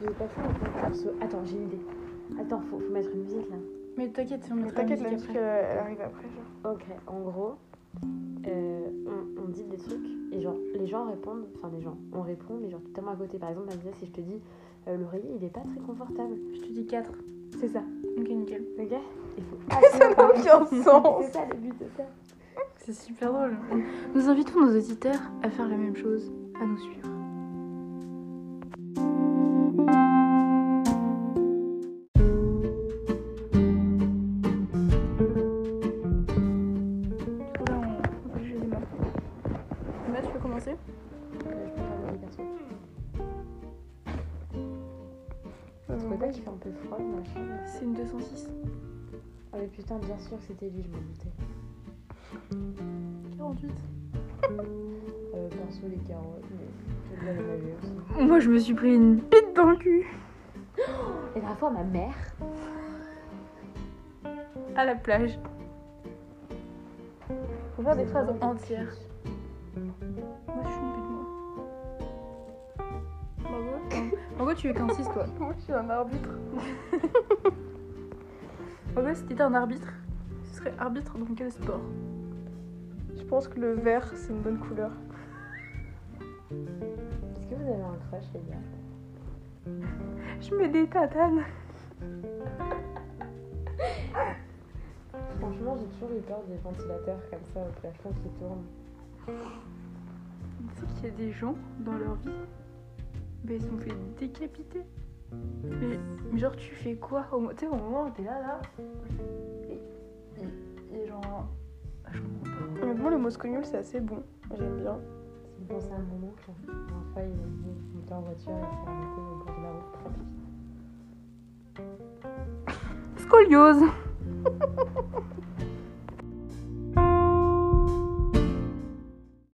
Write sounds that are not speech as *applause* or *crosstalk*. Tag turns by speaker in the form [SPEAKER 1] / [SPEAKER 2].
[SPEAKER 1] de passer en fait. Abso- Attends, j'ai une idée. Attends, faut, faut mettre une musique là.
[SPEAKER 2] Mais t'inquiète, si on met pas
[SPEAKER 3] T'inquiète,
[SPEAKER 2] de
[SPEAKER 3] la
[SPEAKER 2] musique
[SPEAKER 3] musique,
[SPEAKER 2] après.
[SPEAKER 3] euh, elle arrive après. Genre.
[SPEAKER 1] Ok, en gros, euh, on, on dit des trucs et genre les gens répondent, enfin les gens, on répond mais genre totalement à côté. Par exemple, Anissa, si je te dis euh, l'oreiller il est pas très confortable,
[SPEAKER 2] Je te dis 4.
[SPEAKER 1] c'est ça,
[SPEAKER 2] Ok, nickel.
[SPEAKER 1] ok Il *laughs* faut.
[SPEAKER 3] Ça n'a aucun sens.
[SPEAKER 1] *laughs* C'est ça le but, c'est ça.
[SPEAKER 2] C'est super drôle. Nous invitons nos auditeurs à faire la même chose, à nous suivre.
[SPEAKER 3] Du coup, là, on va jouer les mains. Emma, tu peux commencer
[SPEAKER 1] Euh, je peux faire le perso. Tu vois pas qu'il fait un peu froid dans la chambre
[SPEAKER 3] C'est une 206.
[SPEAKER 1] Ah mais putain, bien sûr que c'était lui, je m'en doutais.
[SPEAKER 3] 48.
[SPEAKER 1] Euh, perso les carottes, mais je bien les laver aussi.
[SPEAKER 2] Moi, je me suis pris une bite dans le cul.
[SPEAKER 1] Et la dernière fois, ma mère,
[SPEAKER 2] À la plage.
[SPEAKER 3] Faut faire des phrases
[SPEAKER 1] Vraiment,
[SPEAKER 3] entières. Moi, je suis une pute, moi.
[SPEAKER 2] *laughs*
[SPEAKER 3] Bravo.
[SPEAKER 2] Pourquoi tu es qu'un 6 toi
[SPEAKER 3] Bah Moi, je suis un
[SPEAKER 2] *laughs*
[SPEAKER 3] arbitre.
[SPEAKER 2] Pourquoi si t'étais un arbitre, tu serais arbitre dans quel sport
[SPEAKER 3] Je pense que le vert, c'est une bonne couleur.
[SPEAKER 1] est-ce que vous avez un crush, les gars
[SPEAKER 2] Je mets des tatanes.
[SPEAKER 1] Franchement, j'ai toujours eu peur des ventilateurs comme ça au plafond qui tournent.
[SPEAKER 2] Tu sais qu'il y a des gens dans leur vie, mais ils sont fait décapiter. Mais mais genre, tu fais quoi au, mo- tu sais, au moment où t'es là, là et, et- et genre. ah, Je comprends pas.
[SPEAKER 3] Mais bon, le moscognol, c'est assez bon. J'aime bien.
[SPEAKER 1] Ça me pensait à mon oncle. Une fois, il il était en voiture et il s'est arrêté au bord de la route.
[SPEAKER 2] Scoliose